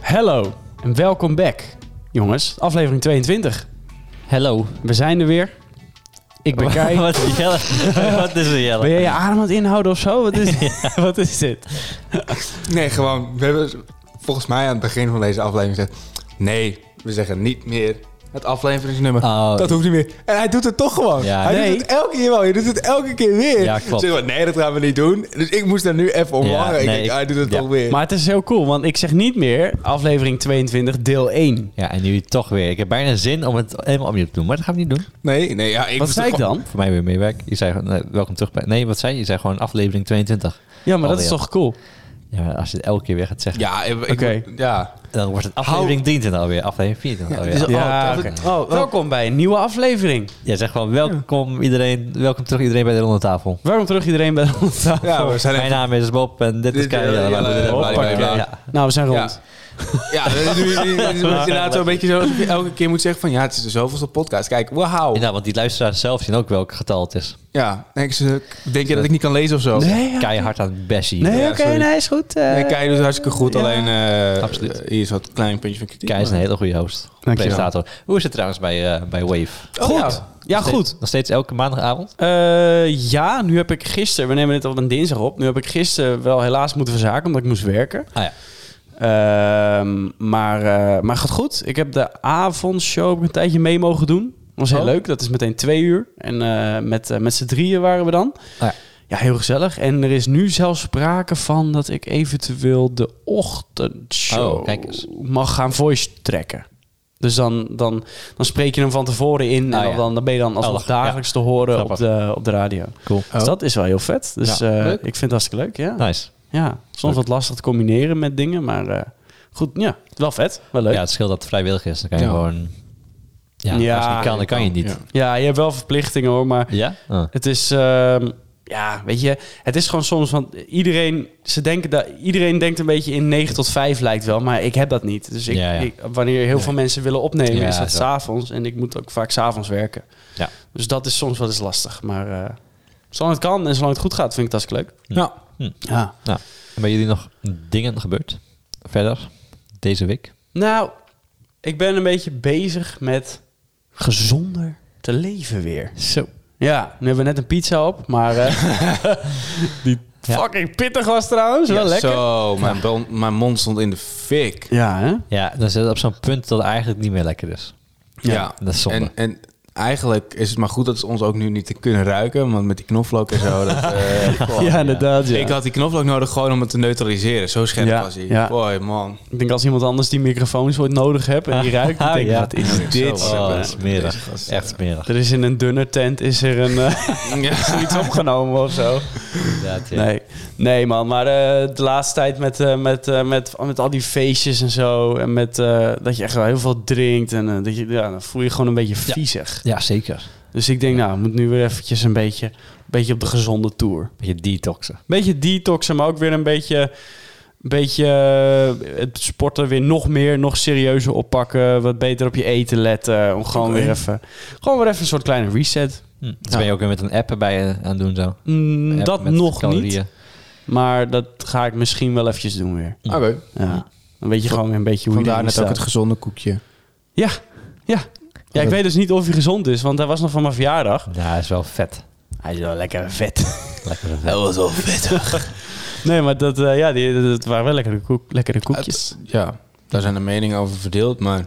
Hello en welkom back, jongens. Aflevering 22. Hello. We zijn er weer. Ik Oh. ben Kai. Wat is Jelle? Wat is er Jelle? Ben jij je adem aan het inhouden of zo? Wat is, wat is dit? Nee, gewoon. We hebben volgens mij aan het begin van deze aflevering gezegd. Nee, we zeggen niet meer het afleveringsnummer. Oh, Dat hoeft niet meer. En hij doet het toch gewoon. Ja. hij Nee. doet het elke keer wel. Hij doet het elke keer weer. Ja, klopt. Zeg maar, nee, dat gaan we niet doen. Dus ik moest daar nu even om Ja, lachen. Ik nee, denk, ik- hij doet het ja. toch weer. Maar het is heel cool, want ik zeg niet meer aflevering 22 deel 1. Ja, en nu toch weer. Ik heb bijna zin om het helemaal opnieuw te doen, maar dat gaan we niet doen. nee, nee, ja, ik Wat moest zei ik het gewoon- dan? Voor mij weer meewerk. Je zei gewoon, eh, welkom terug bij... Nee, wat zei je? Je zei gewoon aflevering 22. Ja, Oh, maar dat is Alweer. toch cool? Ja, maar als je het elke keer weer gaat zeggen, Ja, ik, ik- Oké. ja. dan wordt het aflevering 23 alweer. Aflevering 24 alweer. dus- Ja, Ja, oh, oké. dat- Oh, welkom bij een nieuwe aflevering. Jij zegt gewoon, welkom iedereen, welkom terug iedereen bij de ronde tafel. Welkom terug iedereen bij ons. ja, we zijn Mijn even- naam is Bob en dit is Dit- Kai. eh, Ja, Jelle, bla, bla, bla, bla, bla, bla. hoppakee. Ja. Nou, we zijn Ja. rond. Ja, dat is inderdaad zo'n beetje zo alsof je elke keer moet zeggen van... Ja, het is de zoveelste podcast. Kijk, wauw. Inderdaad, Nou, want die luisteraars zelf zien ook welk getal het is. Ja, denk, ze, denk je dat ik niet kan lezen of zo? Nee, ja. Keihard aan het bashen hier. nee Ja, oké, sorry. nee, is goed. eh. Nee, Kai doet het hartstikke goed. ja. Alleen eh, Absoluut. eh, hier is wat klein puntje van kritiek. Kai is een hele goede host. Dankjewel. Presentator. Hoe is het trouwens bij, eh, bij Wave? Oh, Goed. ja. ja Nog goed. steeds- Nog steeds elke maandagavond? Eh, ja, nu heb ik gisteren, we nemen dit op een dinsdag op. Nu heb ik gisteren wel helaas moeten verzaken omdat ik moest werken. Ah ja. Ehm, maar, eh, maar gaat goed. Ik heb de avondshow heb ik een tijdje mee mogen doen. Dat was heel Oh. leuk. Dat is meteen twee uur. En eh, met, eh, met z'n drieën waren we dan. ja. Ja, heel gezellig. En er is nu zelfs sprake van dat ik eventueel de ochtendshow Oh, kijk eens. mag gaan voice trekken. Dus dan, dan, dan spreek je hem van tevoren in. Ah, en ja. dan, dan ben je dan alsnog Oh, ja. dagelijks te horen op Grappig. de, op de radio. Cool. Dus dat is wel heel vet. Dus Ja, eh, leuk. Nou, ik vind het hartstikke leuk. Ja. Nice. ja. Soms wat lastig te combineren met dingen. Maar eh, goed, ja. Wel vet. Wel leuk. Ja, Ja, het scheelt dat het vrijwillig is. Dan kan je Ja. gewoon... Ja, Ja, als je niet kan, dan kan je Ja. niet. je hebt wel verplichtingen hoor. Maar Ja? Ah. Het is, ehm, ja, weet je, het is gewoon soms, want iedereen, ze denken dat, iedereen denkt een beetje in 9 tot 5 lijkt wel, maar ik heb dat niet. Dus ik, Ja, ja. ik- wanneer heel veel mensen willen opnemen, Ja, is dat zo. s'avonds en ik moet ook vaak s'avonds werken. Ja. Dus dat is soms wel eens lastig, maar eh, zolang het kan en zolang het goed gaat, vind ik dat leuk. Nou, Ja. Nou, en bij jullie nog dingen gebeurd? Verder? Deze week? Nou, ik ben een beetje bezig met gezonder te leven weer. Zo. Ja, nu hebben we net een pizza op, maar eh, die Ja. fucking pittig was trouwens, wel lekker. Zo, mijn, bon- mijn mond stond in de fik. Ja, hè? Ja, dan zit het op zo'n punt dat het eigenlijk niet meer lekker is. Ja, dat is zonde. En, en eigenlijk is het maar goed dat ze ons ook nu niet kunnen ruiken. Want met die knoflook en zo. Dat, eh, goh. Ja, inderdaad. Ja. Ik had die knoflook nodig gewoon om het te neutraliseren. Zo scherp Ja, was hij. ja. Boy, man. Ik denk als iemand anders die microfoons ooit nodig hebt en die ruikt, dan denk ik, Ja. wat is dit? Zo, Oh, eh, dat is smerig. dat is, eh, Echt smerig. Er is in een dunner tent is er een, eh, Ja. iets opgenomen of zo. Inderdaad, ja. Nee, nee man. Maar eh, de laatste tijd met, eh, met, eh, met, met al die feestjes en zo. En met, eh, dat je echt wel heel veel drinkt. En eh, dat je, ja, dan voel je gewoon een beetje viezig. Ja, zeker. Dus ik denk, nou, ik moet nu weer eventjes een beetje, een beetje op de gezonde tour. Beetje detoxen. beetje detoxen, maar ook weer een beetje, een beetje eh, het sporten weer nog meer, nog serieuzer oppakken. Wat beter op je eten letten. Om gewoon Oké. weer even, gewoon weer even een soort kleine reset. Hm. Dus ben je ook weer met een app erbij eh, aan het doen zo? Mm, App dat met nog niet, calorieën. maar dat ga ik misschien wel eventjes doen weer. Oké. Ja. Dan weet je gewoon weer een beetje hoe je Vandaar erin net ook staat. het gezonde koekje. Ja, ja. Ja, ik Goed. weet dus niet of hij gezond is, want hij was nog van mijn verjaardag. Ja, dat is wel vet. Hij is wel lekker vet. Lekker vet. Dat was wel vettig. Nee, maar dat, eh, ja, die, dat waren wel lekkere, koek, lekkere koekjes. Ja, daar zijn de meningen over verdeeld. Maar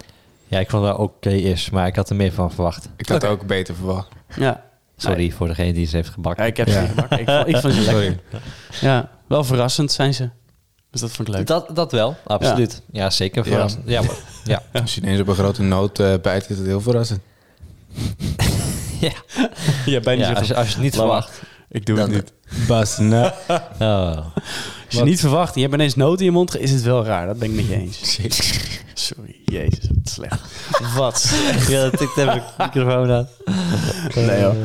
Ja, ik vond het wel oké is, maar ik had er meer van verwacht. ik had ook beter verwacht. Ja. Sorry voor degene die ze heeft gebakken. Ja, ik heb ze Ja. niet gebakken. Ik vond, ik vond ze lekker. Sorry. Ja, wel verrassend zijn ze. Dus dat vond ik leuk. Dat, dat wel, absoluut. Ja, zeker. Ja. verrassend. Ja. maar- Ja. Als je ineens op een grote noot eh bijt, is het heel verrassend. ja. Ja, bijna Ja, als, je, als je het niet Laat maar. verwacht. Ik doe het Dan- niet. Bas, nou. Oh. Als je niet verwacht en je hebt ineens noten in je mond, ge- is het wel raar. Dat ben ik met je eens. Oh. Sorry, jezus, wat slecht. wat slecht. Ja, dat tikt even de microfoon aan. Nee, hoor.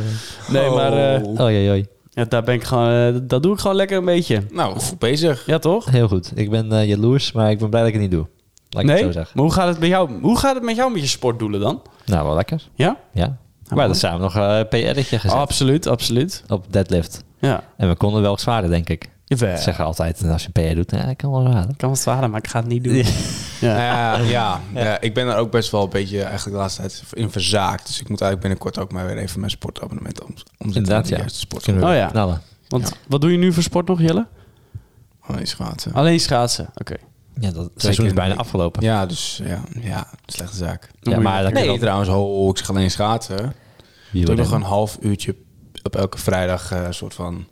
Nee, maar eh, Oh. Eh, Oh, jee, jee. ja, daar ben ik gewoon, eh, dat doe ik gewoon lekker een beetje. Nou, goed bezig. Ja, toch? Heel goed. Ik ben eh, jaloers, maar ik ben blij dat ik het niet doe. Laat ik nee? het zo zeggen. Maar hoe gaat het, bij jou, hoe gaat het met jou met je sportdoelen dan? Nou, wel lekker. Ja? Ja. Nou, mooi. Oh. maar dat samen nog eh, een PR'tje gezet absoluut, absoluut. op deadlift. Ja. En we konden wel zwaarder, denk ik. Jawel. Dat zeggen altijd eh, als je een PR doet. Ja, ik kan wel raden. Ik kan het zwaren, maar ik ga het niet doen. Ja. Nou Ja, ja, ja, ik ben er ook best wel een beetje eigenlijk de laatste tijd in verzaakt. Dus ik moet eigenlijk binnenkort ook maar weer even mijn sportabonnement om, omzetten. Inderdaad, in de ja. juiste sport. Kunnen we Oh ja. knallen. Want wat doe je nu voor sport nog, Jelle? Alleen schaatsen. Alleen schaatsen. Oké. Ja, dat seizoen is bijna ik- afgelopen. Ja, dus ja, ja, slechte zaak. Ja, maar dat Nee, kan ook. trouwens, ho, ik zeg alleen schaatsen. Wie Doe wil nog er- een half uurtje op elke vrijdag eh, een soort van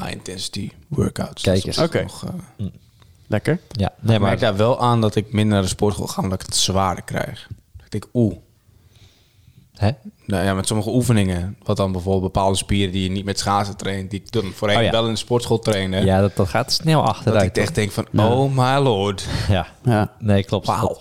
high-intensity workouts. Kijk Dus eens. dat is Oké. nog, eh, Lekker. Ja, nee, ik merk maar daar wel aan dat ik minder naar de sportschool ga, omdat ik het zwaarder krijg. Ik denk, oeh. hè? Nou ja, met sommige oefeningen. Wat dan bijvoorbeeld bepaalde spieren die je niet met schaatsen traint. Die ik dan voorheen Oh ja. wel in de sportschool trainde. ja dat, dat gaat snel dat achteruit. ik echt denk van, oh my lord. toch? Ja, Ja. nee, klopt. Wauw.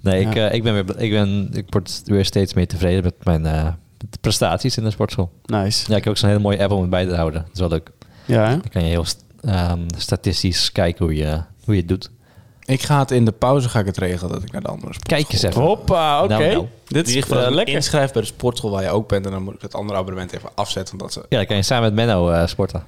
Nee, ik, eh, ik, ben weer, bl- ik, ben, ik word weer steeds meer tevreden met mijn eh, met de prestaties in de sportschool. Nice. Ja, ik heb ook zo'n hele mooie app om het bij te houden. Dat is wel leuk. Ja, hè? Dan kan je heel st- ehm, statistisch kijken hoe je, hoe je het doet. Ik ga het in de pauze ga ik het regelen dat ik naar de andere sportschool. Kijk eens even. Hoppa, oké. Nou, nou. Dit is In ieder geval, eh, als ik me lekker. inschrijf bij de sportschool waar je ook bent. En dan moet ik het andere abonnement even afzetten. Omdat ze... Ja, dan kan je samen met Menno eh, sporten.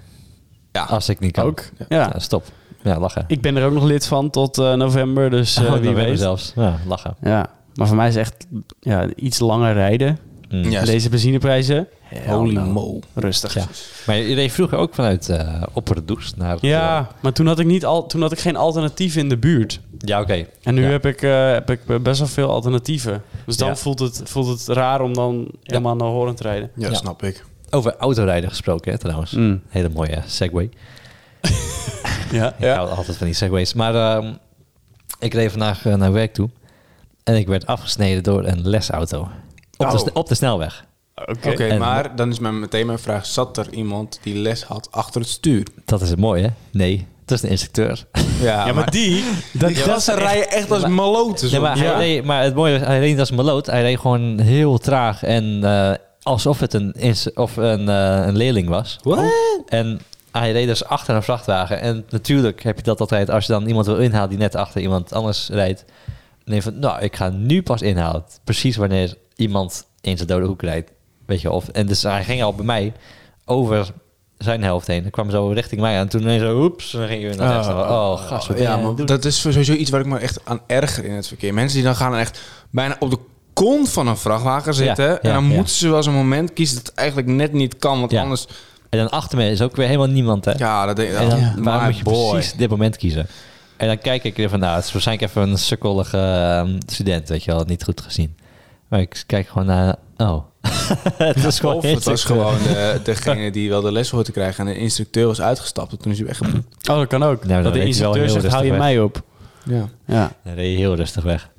Ja. Als ik niet kan. Ook. Ja. Ja, stop. Ja, lachen. Ik ben er ook nog lid van tot eh, november, dus eh, Oh, wie dan ben je weet. zelfs. Ja, lachen. Ja. Maar voor mij is echt ja, iets langer rijden. Mm. Ja, Deze benzineprijzen. Holy Hell no. mo. Rustig. Ja. Maar je reed vroeger ook vanuit eh Opperdoes naar... eh, Ja, maar toen had, ik niet al, toen had ik geen alternatief in de buurt. Ja, oké. En nu Ja. heb, ik, eh, heb ik best wel veel alternatieven. Dus dan Ja. voelt, het, voelt het raar om dan helemaal naar horen te rijden. Ja, Ja. snap ik. Over autorijden gesproken, hè, trouwens. Mm. Hele mooie segue. Ja, Ik hou altijd van die segways. Maar ehm, ik reed vandaag eh, naar werk toe. En ik werd afgesneden door een lesauto. Op, de, Oh. sne- op de snelweg. oké. Oké, En- maar dan is mijn, meteen mijn vraag. Zat er iemand die les had achter het stuur? Dat is het mooie, hè? Nee, het is de instructeur. Ja, maar die... die gasten rijden echt als maloten. Nee, zo. maar, ja. hij reed, maar het mooie was, hij reed niet als een meloot. Hij reed gewoon heel traag en eh, alsof het een, ins- of een, eh, een leerling was. En hij reed dus achter een vrachtwagen. En natuurlijk heb je dat altijd als je dan iemand wil inhalen die net achter iemand anders rijdt. Dan denk je van, nou, ik ga nu pas inhalen. Precies wanneer iemand in zijn dode hoek rijdt. Weet je, of, en dus hij ging al bij mij over zijn helft heen. Hij kwam zo richting mij aan. En toen ineens zo, oeps. En dan ging je weer naar rechts. Oh. Oh, gast, wat ben Ja, jij aan maar het doen? dat is sowieso iets waar ik me echt aan erger in het verkeer. Mensen die dan gaan echt bijna op de kont van een vrachtwagen zitten. ja, en dan ja. moeten ze wel eens een moment kiezen dat het eigenlijk net niet kan. Want Ja. anders, En dan achter me is ook weer helemaal niemand, hè? ja, dat denk ik. En dan, ja, waarom my moet je boy. precies dit moment kiezen? En dan kijk ik weer van, nou, het is waarschijnlijk even een sukkelige ehm, student, weet je wel, niet goed gezien. Maar ik kijk gewoon naar, oh. het was gewoon Of het was instructeur. gewoon eh, degene die wel de les hoort te krijgen. En de instructeur was uitgestapt. En toen is hij echt geboekt. Oh, dat kan ook. Nou, dan dat de weet je wel instructeur heel zegt, hou je rustig mij op. Ja. Ja. Dan reed je heel rustig weg.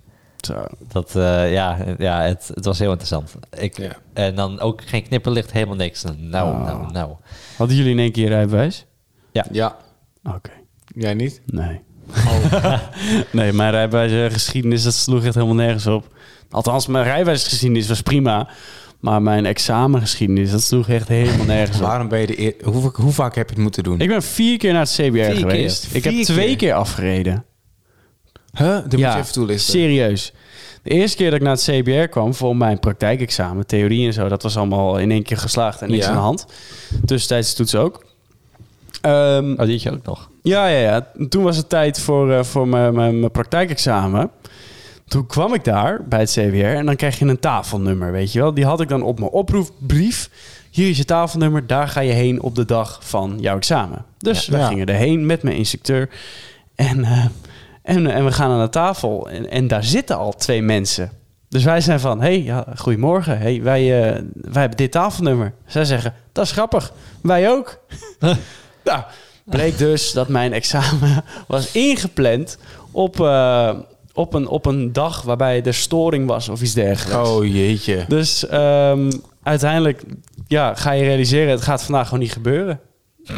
Zo. Dat, eh, ja, ja het, het was heel interessant. Ik, Ja. Ah. En dan ook geen knipperlicht, helemaal niks. Nou, Oh. nou, nou. Hadden jullie in één keer je rijbewijs? ja, Oké. Oh. jij niet? Nee. nee, mijn rijbewijsgeschiedenis, dat sloeg echt helemaal nergens op. Althans, mijn rijbewijsgeschiedenis was prima. Maar mijn examengeschiedenis, dat sloeg echt helemaal nergens op. Waarom ben je de eer- hoe, hoe vaak heb je het moeten doen? Ik ben vier keer naar het CBR keer? geweest. Ik heb Vier twee keer, keer? afgereden. Huh? Dat moet je even toelichten. serieus. De eerste keer dat ik naar het CBR kwam voor mijn praktijkexamen, theorie en zo, dat was allemaal in één keer geslaagd en niks Ja. aan de hand. Tussentijds toets ook. Ehm, Oh, je ook nog. Ja, ja, ja. Toen was het tijd voor, eh, voor mijn, mijn, mijn praktijkexamen. Toen kwam ik daar bij het CBR en dan krijg je een tafelnummer, weet je wel. Die had ik dan op mijn oproepbrief. Hier is je tafelnummer, daar ga je heen op de dag van jouw examen. Dus Ja. wij Ja. gingen erheen met mijn instructeur. En, eh, en, en we gaan aan de tafel en, en daar zitten al twee mensen. Dus wij zijn van, hey, ja, goedemorgen. Hey, wij, eh, wij hebben dit tafelnummer. Zij zeggen, dat is grappig. Wij ook. nou, bleek dus dat mijn examen was ingepland op, eh, op, een, op een dag waarbij er storing was of iets dergelijks. Oh jeetje. Dus ehm, uiteindelijk ja, ga je realiseren, het gaat vandaag gewoon niet gebeuren.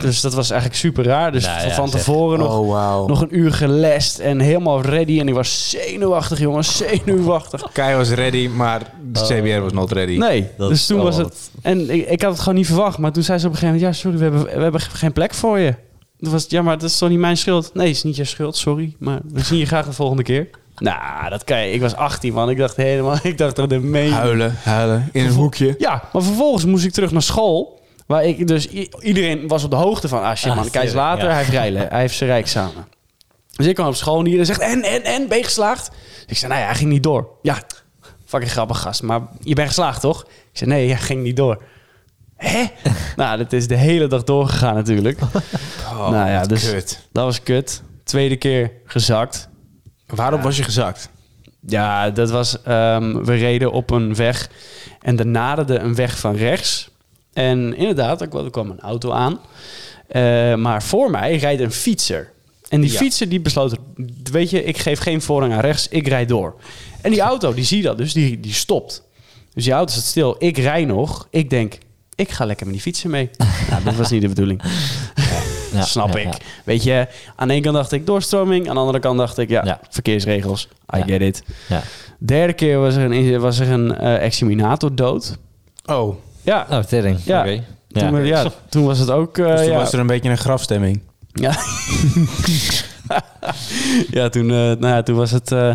Dus dat was eigenlijk super raar. Dus Nou van, ja, van zeg. tevoren nog, Oh wauw. nog een uur gelest en helemaal ready. En ik was zenuwachtig, jongens, zenuwachtig. Kai was ready, maar de CBR was not ready. Nee, Dat- dus toen oh, was wat- het... En ik, ik had het gewoon niet verwacht. Maar toen zei ze op een gegeven moment... Ja, sorry, we hebben, we hebben geen plek voor je. Toen was het, ja, maar dat is toch niet mijn schuld? Nee, is niet je schuld, sorry. Maar we zien je graag de volgende keer. Nou, dat kan je. Ik was 18, man. Ik dacht helemaal... Ik dacht toch de meen... Huilen, huilen, in een hoekje. Ja, maar vervolgens moest ik terug naar school... Waar ik dus i- iedereen was op de hoogte van. Ah shit Ah, man, kijk eens tuurlijk, later. ja. Hij heeft rijden. Hij heeft zijn rijksamen. Dus ik kwam op school hier en zegt en, en, en, ben je geslaagd? Ik zei, nou ja, hij ging niet door. Ja, fucking grappig gast, maar je bent geslaagd toch? Ik zei, nee, hij ging niet door. Hè? nou, dat is de hele dag doorgegaan natuurlijk. Oh, Nou ja, wat dus- kut. Dat was kut. Tweede keer gezakt. Waarop was je gezakt? Ja, dat was. ehm, we reden op een weg en er naderde een weg van rechts. En inderdaad, er kwam, er kwam een auto aan. Eh, maar voor mij rijdt een fietser. En die Ja. fietser die besloot, weet je, ik geef geen voorrang aan rechts, ik rijd door. En die auto, die zie dat, dus die, die stopt. Dus die auto staat stil, ik rij nog. Ik denk, ik ga lekker met die fietser mee. nou, dat was niet de bedoeling. Ja, Snap ja, ik. ja. Weet je, aan de ene kant dacht ik doorstroming, aan de andere kant dacht ik, ja, Ja. verkeersregels, I Ja. get it. Ja. Derde keer was er een, was er een eh, exterminator dood. Oh, Ja, Oh, tering. Ja. Oké. toen, Ja. we- ja, toen was het ook... eh, dus toen ja. was er een beetje een grafstemming. ja. ja, toen, eh, nou ja, toen was het, eh,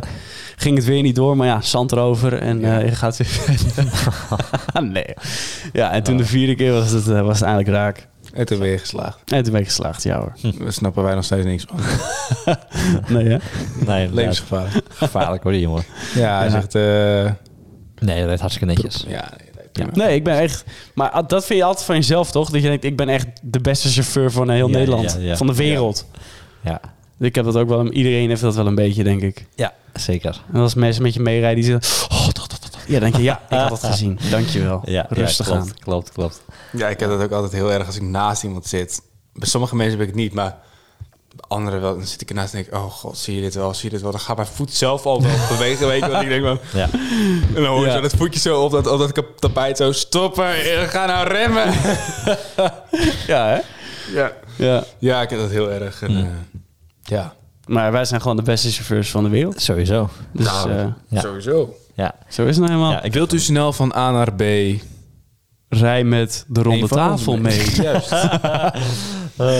ging het weer niet door, maar ja, zand erover en Ja. eh, je gaat weer verder. nee. Ja, en toen de vierde keer was het, eh, was het eindelijk raak. En toen ben je geslaagd. En toen ben ik geslaagd, ja hoor. Daar snappen wij nog steeds niks van. Nee, hè? Nee, inderdaad. Levensgevaarlijk. gevaarlijk hoor, die jongen. Ja, hij Ja. zegt... eh, Nee, dat werd hartstikke netjes. ja, nee, nee, Ja. prima. Nee, ik ben echt... Maar ah, dat vind je altijd van jezelf, toch? Dat je denkt, ik ben echt de beste chauffeur van heel Ja, Nederland. ja, ja. Van de wereld. Ja, Ik heb dat ook wel... Iedereen heeft dat wel een beetje, denk ik. ja zeker. En als mensen met je meerijden, die zeggen... Oh, dat, dat, dat. Ja, dan denk je, ja, ik had dat gezien. Dankjewel. Ja, Rustig ja, aan. klopt, Klopt, klopt. Ja, ik heb dat ook altijd heel erg als ik naast iemand zit. Bij sommige mensen heb ik het niet, maar bij anderen wel. Dan zit ik ernaast en denk ik, oh god, zie je dit wel, zie je dit wel. Dan gaat mijn voet zelf al wel bewegen, weet je wat ik denk. Man. Ja. En dan hoor je Ja. zo dat voetje zo op dat, op dat kap- tapijt zo stoppen, eh, ga nou remmen. Ja, hè? ja. Ja. ja, ik heb dat heel erg. En, eh, ja, Maar wij zijn gewoon de beste chauffeurs van de wereld. Sowieso. Dus Nou. eh, Ja. sowieso. Ja. zo is het nou helemaal. Ja, ik wil Wilt u snel van A naar B? Rij met de ronde Eén van tafel ons mee. Juist. nou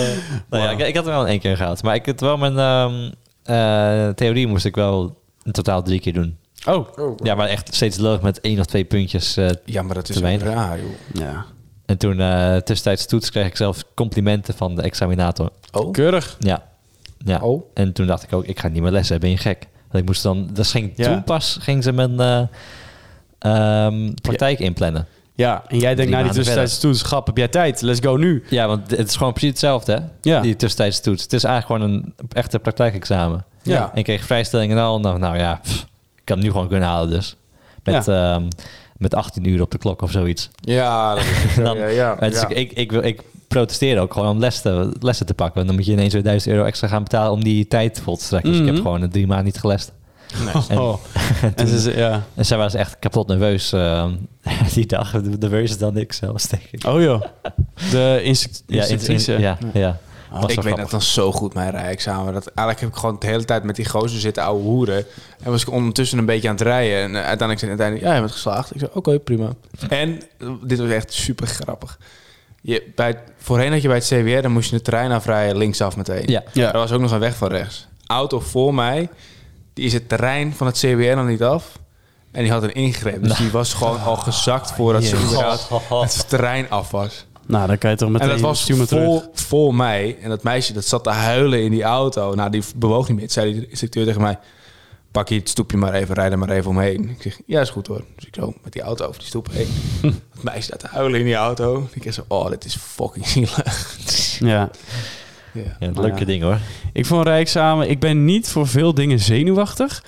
ja, ik, ik had hem wel in één keer gehad. Maar ik had wel mijn ehm, eh, theorie moest ik wel in totaal drie keer doen. Oh. Ja, maar echt steeds leuk met één of twee puntjes. eh. Ja, maar dat is Te ook weinig. raar, joh. Ja. en toen eh tussentijds toets kreeg ik zelfs complimenten van de examinator. Oh. Keurig. Ja. ja. Oh. En toen dacht ik ook, ik ga niet meer lessen. Ben je gek? Want ik moest dan, dat ging Ja. toen pas, ging ze mijn eh, ehm, praktijk inplannen. Ja, en jij denkt, na Drie die maanden tussentijds toets, grap, heb jij tijd? Let's go nu. Ja, want het is gewoon precies hetzelfde, hè? Ja. Die tussentijds toets. Het is eigenlijk gewoon een echte praktijkexamen. Ja. En ik kreeg vrijstelling en al. Nou, nou ja, pff, ik kan hem nu gewoon kunnen halen dus. Met, ehm, met 18 uur op de klok of zoiets. Ja, dat is En dan- ja, ja, Maar het is- ja. ik, ik, wil- ik protesteer ook gewoon om lessen, lessen te pakken. Want dan moet je ineens weer 1000 euro extra gaan betalen om die tijd vol te strekken. Dus ik Mhm. Oh. heb gewoon eh, drie maanden niet gelest. En, en ze, ze- ja. En zij was echt kapot nerveus eh, die dag. Nerveuzer dan ik zelfs, denk ik. Oh joh. De instruct- Ja, in- in- instructrice. ja, ja. Was wel Ah. ik weet grappig. dat dan zo goed, mijn rijexamen. Dat, eigenlijk heb ik gewoon de hele tijd met die gozer zitten ouwe hoeren. En was ik ondertussen een beetje aan het rijden. En eh, uiteindelijk zei uiteindelijk, ja, je bent geslaagd. Ik zei, oké, prima. En eh, dit was echt super grappig. Je, bij, het- voorheen had je bij het CWR, dan moest je de terrein afrijden linksaf meteen. Ja. Ja. Er was ook nog een weg van rechts. Auto voor mij, die is het terrein van het CWR nog niet af. En die had een ingreep. Dus die was gewoon al gezakt voordat ze Jezus. inderdaad het terrein af was. Nou, dan kan je toch meteen En dat was stuur me terug. vol, vol mij. En dat meisje dat zat te huilen in die auto. Nou, die bewoog niet meer. Toen zei die instructeur tegen mij... Pak hier het stoepje maar even, rijd er maar even omheen. Ik zeg, ja, is goed hoor. Dus ik zo met die auto over die stoep heen. Het meisje staat te huilen in die auto. Ik zeg zo, oh, dit is fucking zielig. Ja. Ja. Ja, Maar leuke ja. ding hoor. Ik vond rijexamen... Ik ben niet voor veel dingen zenuwachtig.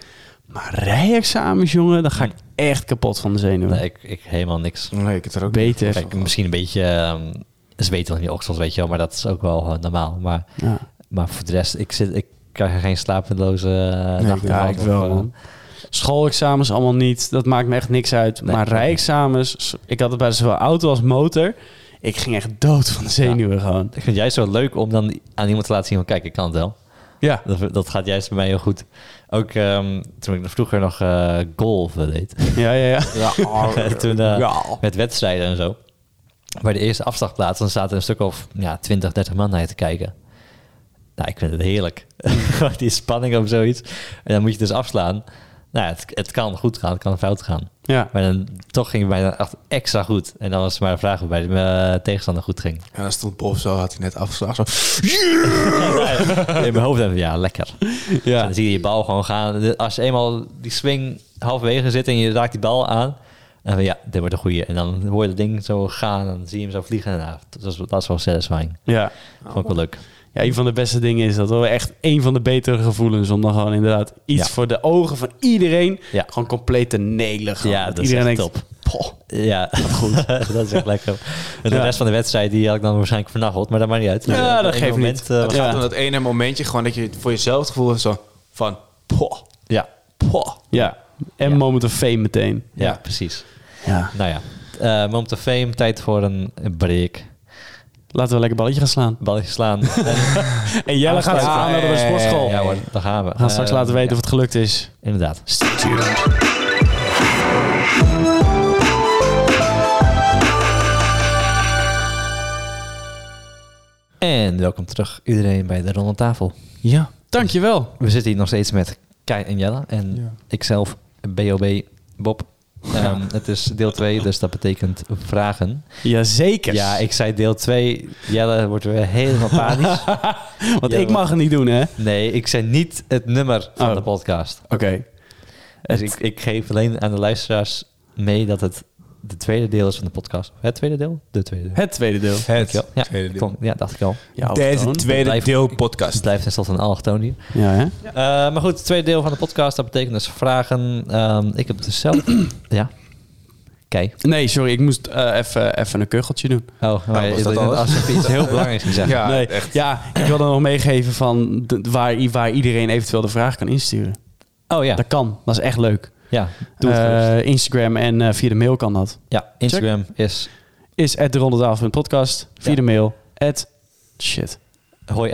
Maar rijexamens, jongen, daar ga ik echt kapot van de zenuwen. Nee, ik, ik helemaal niks. Nee, ik heb er ook Beter. Kijk, misschien een beetje ehm zweten in je oksels, weet je wel, maar dat is ook wel eh, normaal. Maar, Ja. maar voor de rest, ik, zit, ik krijg geen slapeloze eh, ik nachten. Ja, van, ik wel, of, man. Schoolexamens allemaal niet. Dat maakt me echt niks uit. Nee. maar rijexamens... s- Ik had het bij zowel auto als motor. Ik ging echt dood van de zenuwen gewoon. eh, ik vind het juist zo leuk om dan aan iemand te laten zien van kijk, ik kan het wel. Ja. Dat, dat gaat juist bij mij heel goed. Ook ehm, toen ik vroeger nog eh golf deed. Ja, ja, ja. Ja, oh, toen, eh, ja. Met wedstrijden en zo. Bij de eerste afslagplaats, dan zaten er een stuk of ja, 20, 30 man naar je te kijken. Nou, ik vind het heerlijk. die spanning of zoiets. En dan moet je dus afslaan. Nou, het, het kan goed gaan, het kan fout gaan. Ja. Maar dan toch ging het bijna echt extra goed. En dan was het maar de vraag of bij de eh, tegenstander goed ging. En dan stond Bob zo, had hij net afgeslagen. Zo. In mijn hoofd dacht ik, ja, lekker. Dus Ja. dan zie je je bal gewoon gaan. De- Als je eenmaal die swing halverwege zit en je raakt die bal aan. Dan van, ja, dit wordt een goeie. En dan hoor je dat ding zo gaan en dan zie je hem zo vliegen. En, ja, dat, is, dat is wel satisfying. ja. Vond ik wel leuk. Ja, een van de beste dingen is dat. Wel echt een van de betere gevoelens. Om dan gewoon inderdaad iets Ja. voor de ogen van iedereen. Ja. Gewoon compleet te nelen. gewoon. Ja, dat is iedereen echt denkt, "Poh." Ja, goed. dat is echt lekker. En de Ja. rest van de wedstrijd die had ik dan waarschijnlijk vernacheld. Maar dat maakt niet uit. Ja, Eh, op dat een geeft moment, niet. eh, Het was- Ja. gaat om dat ene momentje gewoon dat je voor jezelf het gevoel hebt zo van... Poh, ja, poh. Ja. En Ja. moment of fame meteen. ja, Ja. precies. Ja. Nou ja, Eh moment of fame. Tijd voor een break. Laten we lekker balletje gaan slaan. Balletje slaan. En Jelle gaat Ja, aan naar de ja, sportschool. ja hoor, daar gaan we. We gaan straks Eh, laten weten ja, of het gelukt is. Inderdaad. En welkom terug iedereen bij de Ronde Tafel. Ja. Dankjewel. We zitten hier nog steeds met Kai en Jelle en Ja. ikzelf, BOB, Bob. Ehm, het is deel 2, dus dat betekent vragen. Jazeker. Ja, ik zei deel 2. Jelle wordt weer helemaal panisch. Want Ja, ik we- mag het niet doen, hè? Oké. Nee, ik zei niet het nummer van Oh. de podcast. Dus ik, ik geef alleen aan de luisteraars mee dat het de tweede deel is van de podcast. Het tweede deel? De tweede deel. Het tweede deel. Het Ja, ja, tweede deel. kon- ja dacht ik al. Ja, Deze allochtoon. tweede Blijf- deel Het podcast. blijft tenslotte een allochtoon hier. Ja, hè? Eh, maar goed, het tweede deel van de podcast, dat betekent dus vragen. Ehm, ik heb dus zelf... ja. Kei. Nee, sorry, ik moest eh, even even een kucheltje doen. Oh, maar was dat je- alles? als je iets heel belangrijks gezegd. Ja, nee, echt. ja, ik wilde nog meegeven van de- waar, i- waar iedereen eventueel de vraag kan insturen. Oh ja, Dat kan, dat is echt leuk. ja. Doe het Eh, gerust. Instagram en eh, via de mail kan dat. Ja, Instagram is Is at de Ronde Tafel in podcast. Via Ja. de mail. At shit. hoi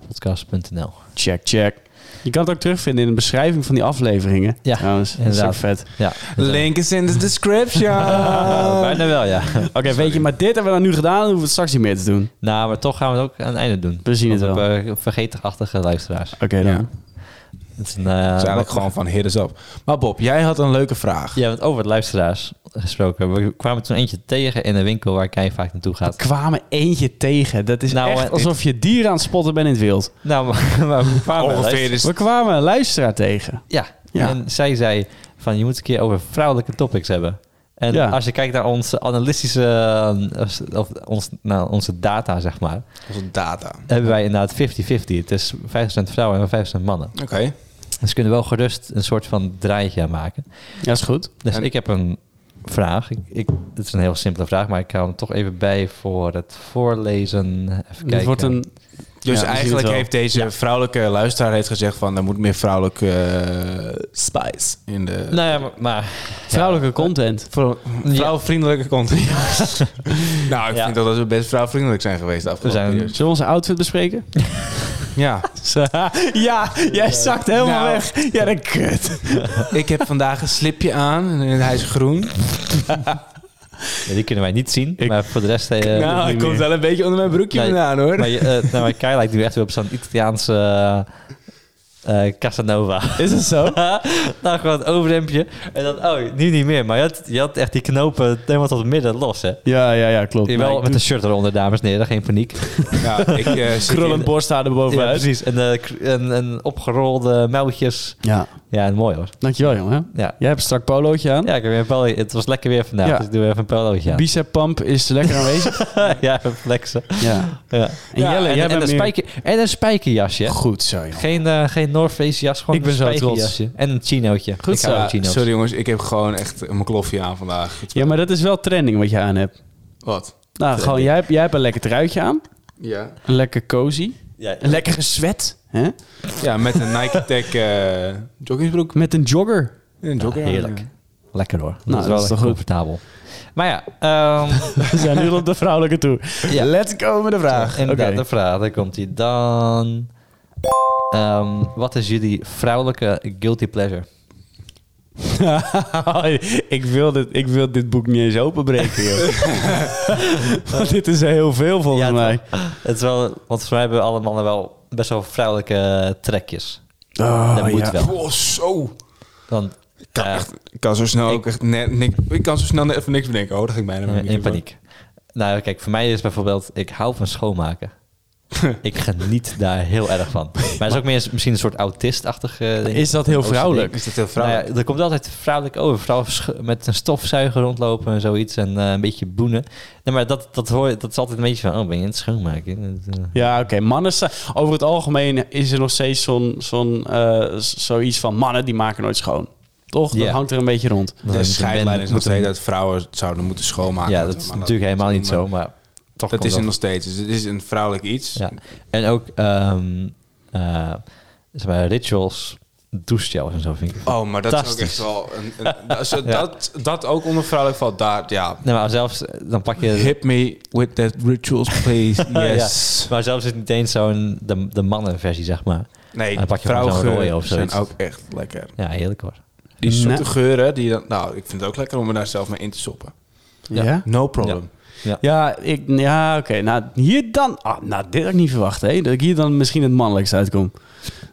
rondtafelpodcast.nl. Check, check. Je kan het ook terugvinden in de beschrijving van die afleveringen. Ja, trouwens. Dat is ook inderdaad. vet. Ja. Link is in de description. Eh. Ah, bijna wel, ja. Oké, weet je, maar dit hebben we dan nu gedaan. Dan hoeven we het straks niet meer te doen. nou, maar toch gaan we het ook aan het einde doen. We zien het Want wel. we Oké, hebben, eh, Vergeetachtige luisteraars. dan. Ja. Het is een, eh, is eigenlijk gewoon van hit is op. Maar Bob, jij had een leuke vraag. Ja, want over het luisteraars gesproken. We kwamen toen eentje tegen in een winkel waar Kai vaak naartoe We gaat. kwamen eentje tegen. Dat is Nou, echt eh, alsof je dieren aan het spotten bent in het wild. Nou, maar, maar we kwamen Ongeveer luister- is We kwamen een luisteraar tegen. Ja. Ja. en zij zei van je moet een keer over vrouwelijke topics hebben. En Ja. als je kijkt naar onze analytische, eh, of- of ons, nou, onze data, zeg maar, onze data. hebben wij inderdaad 50-50. Het is 5% vrouwen en 5% mannen. Oké. Dus kunnen we wel gerust een soort van draaitje aan maken. Ja, is goed. Dus En- ik heb een vraag. Ik, ik, het is een heel simpele vraag, maar ik hou hem toch even bij voor het voorlezen. Even kijken. Het wordt een... Ja, we Dus zien het eigenlijk wel. heeft deze vrouwelijke luisteraar heeft gezegd van... er moet meer vrouwelijke eh, spice in de... Nou ja, maar... maar Vrouwelijke content. Vrouw- vrouwvriendelijke content. nou, ik Ja. vind dat we best vrouwvriendelijk zijn geweest de afgelopen We zijn- periode. Zullen we onze outfit bespreken? Ja. ja, jij zakt helemaal Nou. weg. Ja, dat kut. ik heb vandaag een slipje aan en hij is groen. ja, die kunnen wij niet zien, Ik- maar voor de rest... eh, Nou, nou, hij ik komt komt wel een beetje onder mijn broekje Nee, vandaan, hoor. Maar, je, eh, nou, maar Kai lijkt nu echt weer op zo'n Italiaanse eh, eh, Casanova. Is het zo? nou, gewoon het overrempje. En dan, oh, nu niet meer. Maar je had, je had echt die knopen helemaal tot het midden los, hè? Ja, ja, ja, klopt. Wel Wel met een shirt eronder, dames en heren. Geen paniek. Ja, ik eh, zit krullend in... borsthaar Ja, erbovenuit. precies. En, eh, kr- en, en opgerolde mouwtjes. Ja, Ja, en mooi hoor. dankjewel jongen. Ja. Jij hebt een strak polootje aan. Ja, ik heb weer een polo- het was lekker weer vandaag, Ja. dus ik doe even een polootje aan. Bicep pump is lekker aanwezig. ja, even flexen. ja. Ja. En Jelle, jij en, en, bent een meer- spijker, en een spijkerjasje. hè? Goed zo jongen. Geen, eh geen North Face jas, gewoon Ik ben een zo trots. spijkerjasje. En een chinootje. Goed ik hou zo. van chino's. Sorry jongens, ik heb gewoon echt mijn kloffie aan vandaag. Ja, maar dat is wel trending wat je aan hebt. Wat? Nou, gewoon, jij, hebt- jij hebt een lekker truitje aan. Ja. Een lekker cozy. Ja, Een lekker gezwet. Hè? Ja, met een Nike Tech eh, joggingbroek. Met een jogger. En een jogger aan, heerlijk. ja. Lekker hoor. Dat Nou, is wel dat is lekker toch goed. comfortabel. Maar ja, ehm We zijn nu op de vrouwelijke toer. Ja. Let's go met de vraag. Oké. inderdaad, de vraag. Daar komt hij dan. Ehm, wat is jullie vrouwelijke guilty pleasure? ik, wil dit, ik wil dit boek niet eens openbreken, joh. Want dit is heel veel volgens Ja, mij. Het is wel, want volgens mij hebben alle mannen wel best wel vrouwelijke trekjes. Oh, dat moet ja. wel. Oh, zo. Want kan, eh, echt, ik kan zo snel ik- ook echt net, niks, ik kan zo snel net even niks bedenken. Oh, dat ging bijna met mijn eh, in microfoon. paniek. Nou, kijk, voor mij is bijvoorbeeld, ik hou van schoonmaken. ik geniet daar heel erg van. Maar het is ook meer misschien een soort autistachtig. eh, ding. Is dat heel vrouwelijk? Is dat heel Nou vrouwelijk? ja, er komt altijd vrouwelijk over. Vrouwen sch- met een stofzuiger rondlopen en zoiets. En eh, een beetje boenen. Nee, maar dat, dat, hoor, je- dat is altijd een beetje van... Oh, ben je aan het schoonmaken? Dat, eh, Ja, oké. Mannen sta- Over het algemeen is er nog steeds zo'n, zo'n, eh, z- zoiets van mannen die maken nooit schoon. Toch? Ja. Dat hangt er een beetje rond. dat de moet een scheidlijn ben- is nog moet een- steeds dat vrouwen zouden moeten schoonmaken. Ja, Wat dat we is mannen natuurlijk helemaal niet doen, zo, maar toch maar Dat komt is er nog steeds. Dus het is een vrouwelijk iets. Ja. En ook ehm eh, zeg maar, rituals, douchegels en zo vind ik. Oh, maar dat is ook Fantastisch. echt wel... Een, een- dat, zo- dat, dat ook onder vrouwelijk valt. Daar, ja. Nee, maar zelfs eh, dan pak je... Hit me with that rituals, please. Yes. Maar zelfs is het niet eens zo'n de, de mannenversie, zeg maar. Nee, Dan pak je gewoon zo'n rode vrouwengeuren of zijn zoiets. ook echt lekker. Ja, heerlijk hoor. Die zoete Nou. geuren, die dan, nou, ik vind het ook lekker om me daar zelf mee in te soppen. Ja? Ja. Ja, No problem. ik, ja oké. Nou, hier dan... Ah, nou, dit had ik niet verwacht, hè. Dat ik hier dan misschien het mannelijkst uitkom.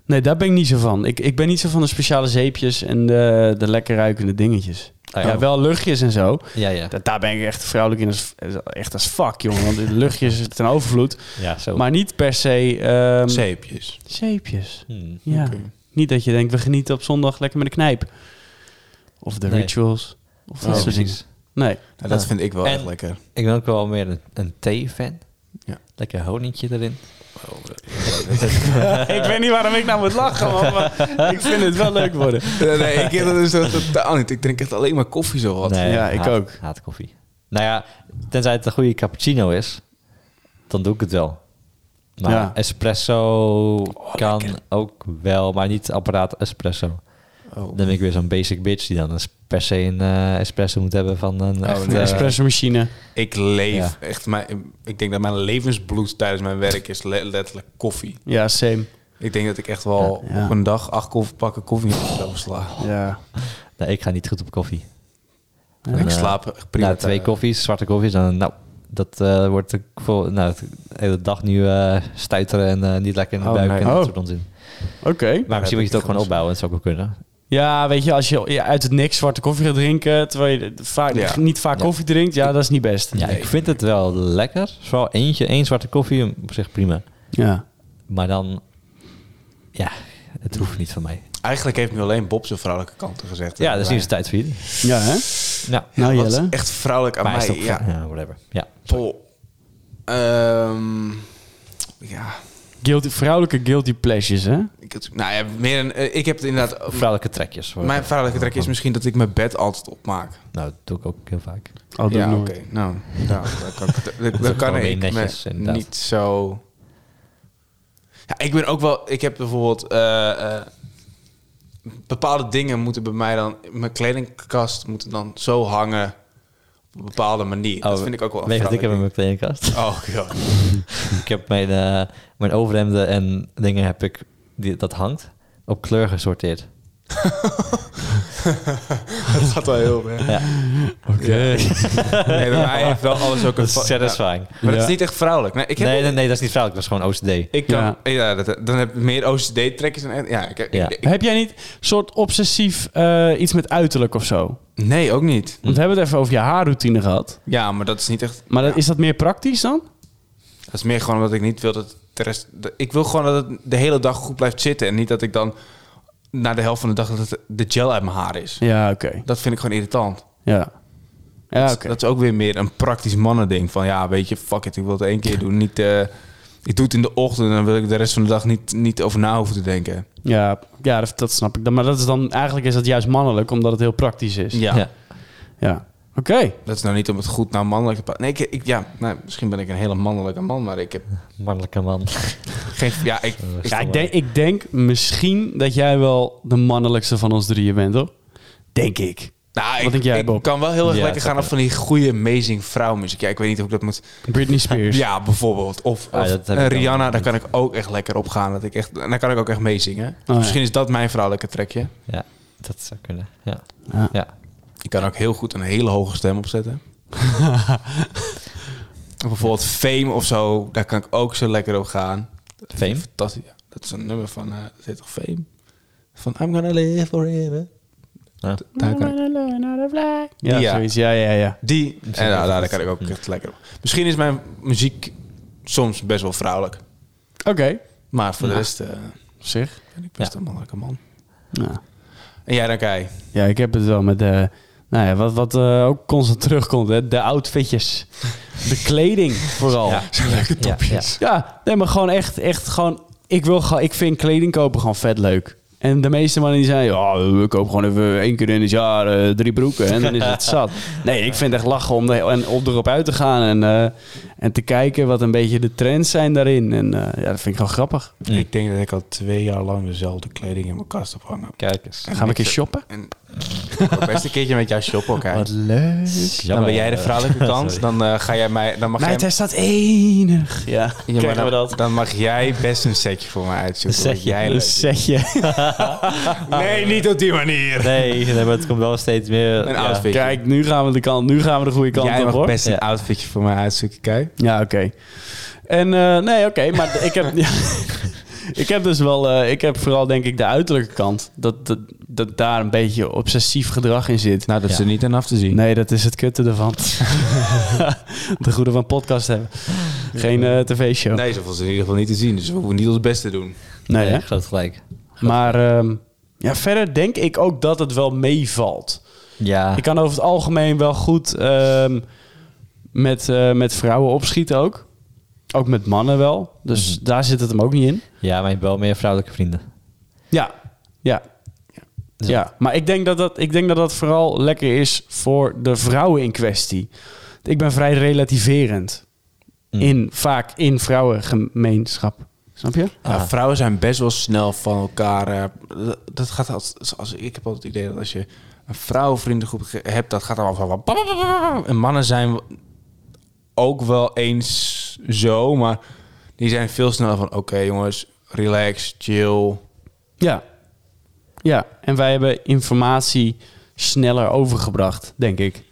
Nee, daar ben ik niet zo van. Ik, ik ben niet zo van de speciale zeepjes en de, de lekker ruikende dingetjes. Oh Ja, wel luchtjes en zo. Ja, ja. Da- Daar ben ik echt vrouwelijk in. Als, echt als fuck, jongen. Want de luchtjes ten overvloed. Ja, zo. Maar niet per se... ehm, Zeepjes. zeepjes. Hmm. Ja. Oké. Niet dat je denkt, we genieten op zondag lekker met de knijp. Of de Nee. rituals. Of Oh, dat soort dingen. precies. Nee. Nou, dat Ja. vind ik wel En- echt lekker. Ik ben ook wel meer een, een thee-fan. Ja. Lekker honingje erin. ik weet niet waarom ik nou moet lachen, man, maar ik vind het wel leuk worden. Nee, nee, ik dat is dat totaal niet. Ik drink echt alleen maar koffie zo wat. Ja, ik haat- ook. Haat koffie. Nou ja, tenzij het een goede cappuccino is, dan doe ik het wel. Maar Ja. espresso kan ook wel, maar niet apparaat espresso. Oh. Dan ben ik weer zo'n basic bitch die dan eens per se een eh, espresso moet hebben van een Oh, echt, De nee. eh, espresso machine. Ik leef Ja. echt, mijn, ik denk dat mijn levensbloed tijdens mijn werk is le- letterlijk koffie. Ja, same. Ik denk dat ik echt wel Ja, ja. op een dag acht koffie, pakken koffie Oh. heb overslaan. Ja. nee, ik ga niet goed op koffie. ik eh, slaap echt prima. Na twee thuis. koffies, zwarte koffies, dan nou, dat eh, wordt ik voor nou, de hele dag nu eh, stuiteren en eh, niet lekker in de Oh, buik nee. en dat Oh. soort onzin. Oké. Maar misschien moet je het ook heb ik gewoon opbouwen, dat zou ook wel kunnen. Ja, weet je, als je ja, uit het niks zwarte koffie gaat drinken, terwijl je vaak, Ja. niet vaak Ja. koffie drinkt, ja, dat is niet best. Ja, Nee. ik vind het wel lekker. Vooral eentje, één zwarte koffie, op zich prima. Ja. Maar dan, ja, het hoeft niet van mij. Eigenlijk heeft nu alleen Bob zijn vrouwelijke kanten gezegd. Ja, dat is niet eens tijd voor jullie. Ja, hè? Nou, Nou, Wat is Jelle. echt vrouwelijk aan maar is mij. het ook Ja. ja. whatever. Ja. Oh. Ehm, ja. Guilty, vrouwelijke guilty pleasures, hè? Ik, had- nou ja, meer een, eh, ik heb het inderdaad... Vrouwelijke trekjes. hoor. Mijn vrouwelijke trek is misschien dat ik mijn bed altijd opmaak. Nou, dat doe ik ook heel vaak. Oh, ja, oké. Nou, nou, dan kan ik, dan- dan is ook kan wel weer ik me netjes, inderdaad. niet zo... Ja, ik ben ook wel... Ik heb bijvoorbeeld... eh, eh, bepaalde dingen moeten bij mij dan... Mijn kledingkast moet dan zo hangen op een bepaalde manier. dat Oh, vind ik ook wel een Weet je wat ik heb in vrouwelijk mijn kledingkast? ding. Oh, ja. ik heb mijn, eh, mijn overhemden en dingen heb ik, die, dat hangt, op kleur gesorteerd. dat gaat wel heel ver. Ja, Oké. Nee, bij mij heeft wel alles dat ook een... is va- Ja. satisfying. Maar dat Ja. is niet echt vrouwelijk. Nee, ik heb Nee, nee, nee, dat is niet vrouwelijk, dat is gewoon OCD. Ik kan, Ja. ja. dat, dan heb je meer OCD-trekkers. en Ja, ik, Ja. ik- Heb jij niet soort obsessief eh, iets met uiterlijk of zo? Want nee, ook niet. we hebben het even over je haarroutine gehad. Ja, maar dat is niet echt... Maar dat, is dat meer praktisch dan? Dat is meer gewoon omdat ik niet wil dat de rest... de- ik wil gewoon dat het de hele dag goed blijft zitten. En niet dat ik dan na de helft van de dag... dat het de gel uit mijn haar is. Ja, oké. Dat vind ik gewoon irritant. Ja. Ja, Dat, oké. is- dat is ook weer meer een praktisch mannending. Van ja, weet je, fuck it. Ik wil het één keer doen. Niet, eh, ik doe het in de ochtend. En dan wil ik de rest van de dag niet, niet over na hoeven te denken. Ja, ja dat, dat snap ik. dan. Maar dat is dan, eigenlijk is dat juist mannelijk, omdat het heel praktisch is. Dus Ja. Ja. Ja. Oké. Dat is nou niet om het goed naar mannelijk te pa- Nee, ik, ik- ja, nou, misschien ben ik een hele mannelijke man. Maar ik heb Mannelijke man. geen... Ja, ik, Ja, ik, denk, ik denk misschien dat jij wel de mannelijkste van ons drieën bent, hoor. Denk ik. Nou, Wat ik, denk jij, ik Bob? kan wel heel erg Ja, lekker dat gaan op van die goede Amazing Vrouw muziek. Ja, ik weet niet hoe ik dat moet... Britney Spears. Ja, bijvoorbeeld. Of, Ah, of, dat heb eh, ik dan Rihanna, niet. Oh, daar kan ik ook echt lekker op gaan. Dat ik echt, en daar kan ik ook echt mee zingen. Dus ja. Misschien is dat mijn vrouwelijke trekje. Ja, dat zou kunnen. Ja. Ja. Ja. Ik kan ook heel goed een hele hoge stem opzetten. Of bijvoorbeeld Fame of zo, daar kan ik ook zo lekker op gaan. Fame? Fantastisch. Ja, Dat is een nummer van, eh dat heet toch Fame? Van I'm gonna live forever. Ja. Daar kan ik- Ja, Ja. zoiets. Ja, ja, ja. Die. Misschien En nou, even daar dat- kan ik ook echt lekker op. Misschien is mijn muziek soms best wel vrouwelijk. Oké. Maar voor de Ja. rest eh, Op zich. ben ik best een mannelijke man. Nou. En jij dan, Kai? Ja, ik heb het wel met de... Nou ja, wat, wat eh, ook constant terugkomt, hè? de outfitjes. De kleding vooral. Ja, Zo'n leuke topjes. nee, maar gewoon echt, echt gewoon... Ik, wil gewoon, ik vind kleding kopen gewoon vet leuk. En de meeste mannen die zeiden, ja, ik koop gewoon even één keer in het jaar eh, drie broeken en dan is het zat. Nee, ik vind het echt lachen om, de, en om erop uit te gaan en, eh, en te kijken wat een beetje de trends zijn daarin. En eh, ja, dat vind ik gewoon grappig. Mm. Ik denk dat ik al twee jaar lang dezelfde kleding in mijn kast heb hangen. Kijk eens. Gaan we een keer shoppen? En ik wil best een keertje met jou shoppen, oké. leuk. Dan ben jij de vrouwelijke kant. Dan eh, ga jij mij. Dan mag Meid, jij, hij staat enig. Ja, Ja, maar dan, dan mag jij best een setje voor me uitzoeken. Een wat setje, jij Een leuk setje. dus. vindt. Nee, niet op die manier. Nee, nee, maar het komt wel steeds meer... Een ja. outfit. Kijk, nu gaan we de kant, nu gaan we de goede kant jij op, mag hoor. best een Ja. outfitje voor mij uitzoeken, Kai. Ja, oké. En eh, nee, oké, maar ik heb, ja, ik heb dus wel, eh, ik heb vooral denk ik de uiterlijke kant, dat, dat, dat daar een beetje obsessief gedrag in zit. Nou, dat is Ja. er niet aan af te zien. Nee, dat is het kutte ervan. de goede van podcast hebben. Geen eh, tv-show. Nee, Nee, ze voelt ze in ieder geval niet te zien. Dus we hoeven niet ons best te doen. Nee, hè? groot gelijk. Maar ehm, ja, verder denk ik ook dat het wel meevalt. Ja. Ik kan over het algemeen wel goed ehm, met, eh, met vrouwen opschieten ook. Ook met mannen wel. Dus daar zit het hem ook niet in. ja, maar je hebt wel meer vrouwelijke vrienden. Ja, ja. Dus Ja, maar ik denk dat dat, ik denk dat dat vooral lekker is voor de vrouwen in kwestie. Ik ben vrij relativerend. Mm. In, vaak in vrouwengemeenschap. Mhm. Snap je? Ja, Ah. Nou, vrouwen zijn best wel snel van elkaar. eh, dat- dat gaat als, als ik heb altijd het idee dat als je een vrouwenvriendengroep ge- hebt, dat gaat allemaal van. wat- En mannen zijn ook wel eens zo, maar die zijn veel sneller van: oké jongens, relax, chill. Ja. Ja, en wij hebben informatie sneller overgebracht, denk ik.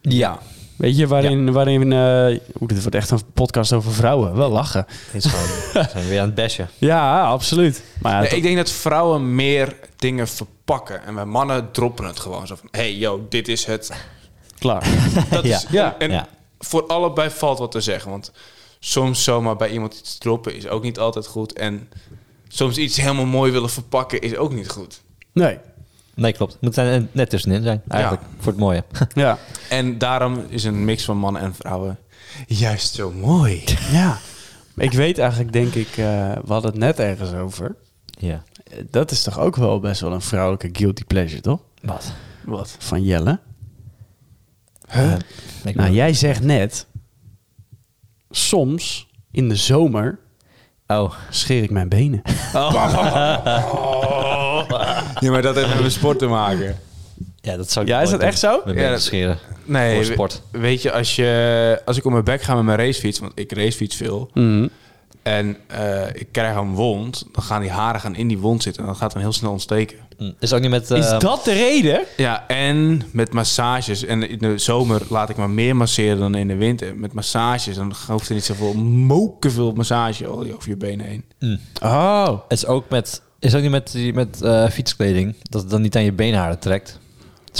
Ja, Weet je, waarin... waarin eh, Oeh, dit wordt echt een podcast over vrouwen. Wel lachen. Het is gewoon... we zijn weer aan het bashen. Ja, absoluut. Maar ja, Nee, dat- ik denk dat vrouwen meer dingen verpakken en bij mannen droppen het gewoon zo van: hey yo, dit is het. klaar. Dat Ja. is, Ja. En Ja. voor allebei valt wat te zeggen. Want soms zomaar bij iemand iets droppen is ook niet altijd goed. En soms iets helemaal mooi willen verpakken is ook niet goed. Nee. Nee, klopt. Het moet er net tussenin zijn, eigenlijk. Voor het mooie. Ja. En daarom is een mix van mannen en vrouwen juist zo mooi. Ja. Ik weet eigenlijk, denk ik... eh, we hadden het net ergens over. ja. Dat is toch ook wel best wel een vrouwelijke guilty pleasure, toch? Wat? Wat? Van Jelle. Huh? Nou, jij zegt net... Soms, in de zomer, Oh. scheer ik mijn benen. Ja, maar dat heeft met sport te maken. Ja, dat zou ik Ja, is nooit dat echt doen. zo? Met Ja, benen dat- scheren. Nee, Voor we- sport. Weet je, als, je, als ik op mijn bek ga met mijn racefiets, want ik racefiets veel, Mhm. en eh, ik krijg een wond, dan gaan die haren gaan in die wond zitten en dat gaat dan heel snel ontsteken. Mm. Is ook niet met... Is eh, dat de reden? Ja, en met massages. En in de zomer laat ik maar meer masseren dan in de winter. Met massages, dan hoeft er niet zoveel moken veel massageolie over je benen heen. mm. Oh. is ook met... Is ook niet met, die- met eh, fietskleding. Dat het dan niet aan je beenharen trekt.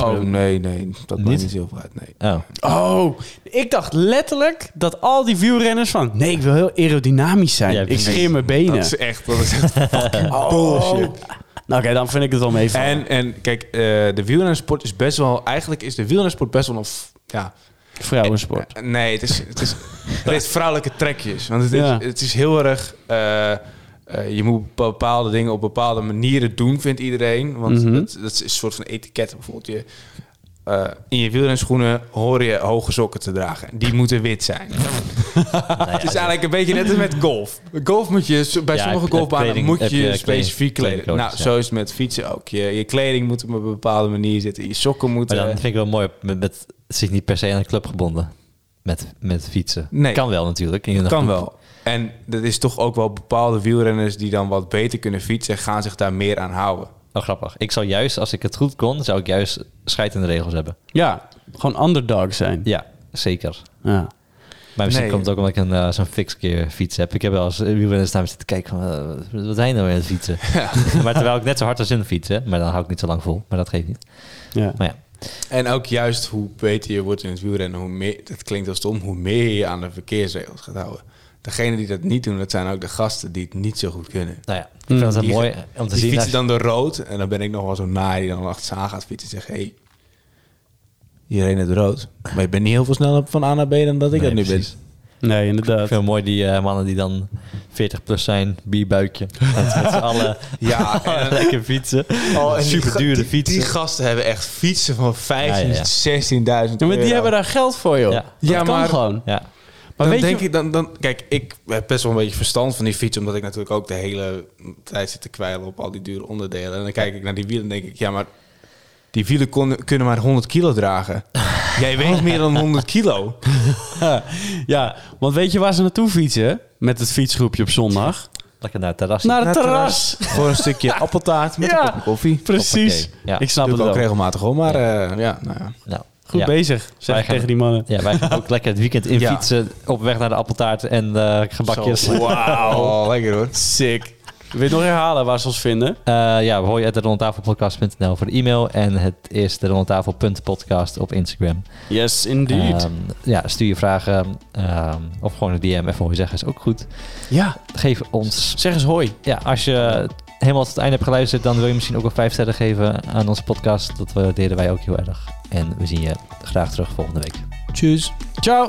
Oh nee, nee, dat Niet? maakt niet heel veel uit, nee. Oh. Oh. Ik dacht letterlijk dat al die wielrenners van... Nee, ik wil heel aerodynamisch zijn. Ja, ik precies. scheer mijn benen. Dat is echt, dat is echt fucking Oh. bullshit. Nou, oké, dan vind ik het wel mee. En, en kijk, eh, de wielrennersport is best wel... Eigenlijk is de wielrennersport best wel een... f- Ja, Vrouwensport. Eh, Nee, het is, het is, het is vrouwelijke trekjes. Want het is, Ja. het is heel erg... eh, eh, je moet bepaalde dingen op bepaalde manieren doen, vindt iedereen. Want Mhm. dat, dat is een soort van etiket. Bijvoorbeeld je, eh, in je wielrenschoenen hoor je hoge sokken te dragen. Die moeten wit zijn. Nou ja, Het is eigenlijk een beetje net als met golf. Golf moet je, zo- bij Ja, sommige heb- heb golfbanen kleding- moet heb je, je je kleding- specifiek kleden. kledingcodes, Nou, ja. zo is het met fietsen ook. Je, je kleding moet op een bepaalde manier zitten. Je sokken Maar moeten... dan vind ik wel mooi met, met zich niet per se aan een club gebonden. Met, met fietsen. Nee. Kan wel natuurlijk. in een kan groep. wel. En dat is toch ook wel bepaalde wielrenners die dan wat beter kunnen fietsen, gaan zich daar meer aan houden. Oh, grappig. Ik zou juist, als ik het goed kon, zou ik juist scheid in de regels hebben. Ja, gewoon underdog zijn. Ja, zeker. Ja. Maar misschien Nee. komt het ook omdat ik een, eh, zo'n fixkeer fiets heb. Ik heb wel eens wielrenners daar zitten kijken van, eh, wat zijn nou weer aan het fietsen? maar terwijl ik net zo hard als hun fiets, hè. Maar dan hou ik niet zo lang vol, maar dat geeft niet. Ja. Maar ja, En ook juist hoe beter je wordt in het wielrennen, hoe meer, dat klinkt wel stom, hoe meer je aan de verkeersregels gaat houden. Degenen die dat niet doen, dat zijn ook de gasten die het niet zo goed kunnen. nou ja, ik vind het wel Die- mooi om te die zien. fietsen als- dan door rood en dan ben ik nog wel zo naar die dan achter ze aan gaat fietsen en zegt, hey, je reed net rood. Maar je bent niet heel veel sneller van A naar B dan dat ik Nee, dat nu precies. ben. Nee, Ik inderdaad. vind het mooi die eh, mannen die dan 40 plus zijn, bierbuikje. Met, met z'n allen Ja, en dan- lekker fietsen. Oh, en die Super ga- dure die- fietsen. Die gasten hebben echt fietsen van 15, Ja, ja, ja. 16.000 Ja, maar die euro. hebben daar geld voor, joh. Ja. Dat Ja, kan maar- gewoon. Ja. Maar dan weet denk je- ik dan, dan, kijk, ik heb best wel een beetje verstand van die fiets, omdat ik natuurlijk ook de hele tijd zit te kwijlen op al die dure onderdelen. En dan kijk ik naar die wielen en denk ik, ja, maar die wielen kon- kunnen maar 100 kilo dragen. Jij weegt meer dan 100 kilo. Ja, want weet je waar ze naartoe fietsen? Met het fietsgroepje op zondag. Lekker naar het terras. Naar Naar het het terras. Voor een stukje appeltaart met Ja. een kopje koffie. Precies. Hoppakee. Ja. Ik snap Dat het doe ik ook wel. regelmatig hoor, maar eh, ja, nou ja. Nou, Goed ja. bezig, zeg Wij ik gaan- tegen die mannen. Ja, wij gaan ook lekker het weekend in Ja. fietsen. Op weg naar de appeltaart en eh, gebakjes. Zo, Wauw, lekker hoor. Sick. Wil je het nog herhalen waar ze ons vinden? Eh, ja, hoor je het rondtafelpodcast.nl voor de e-mail. En het is de rondtafel.podcast op Instagram. Yes, indeed. Ehm, ja, stuur je vragen ehm, of gewoon een DM. Even hoor je zeggen is ook goed. ja, Geef ons zeg eens hoi. Ja, als je helemaal tot het einde hebt geluisterd, dan wil je misschien ook een 5 sterren geven aan onze podcast. Dat waarderen wij ook heel erg. En we zien je graag terug volgende week. Ciao.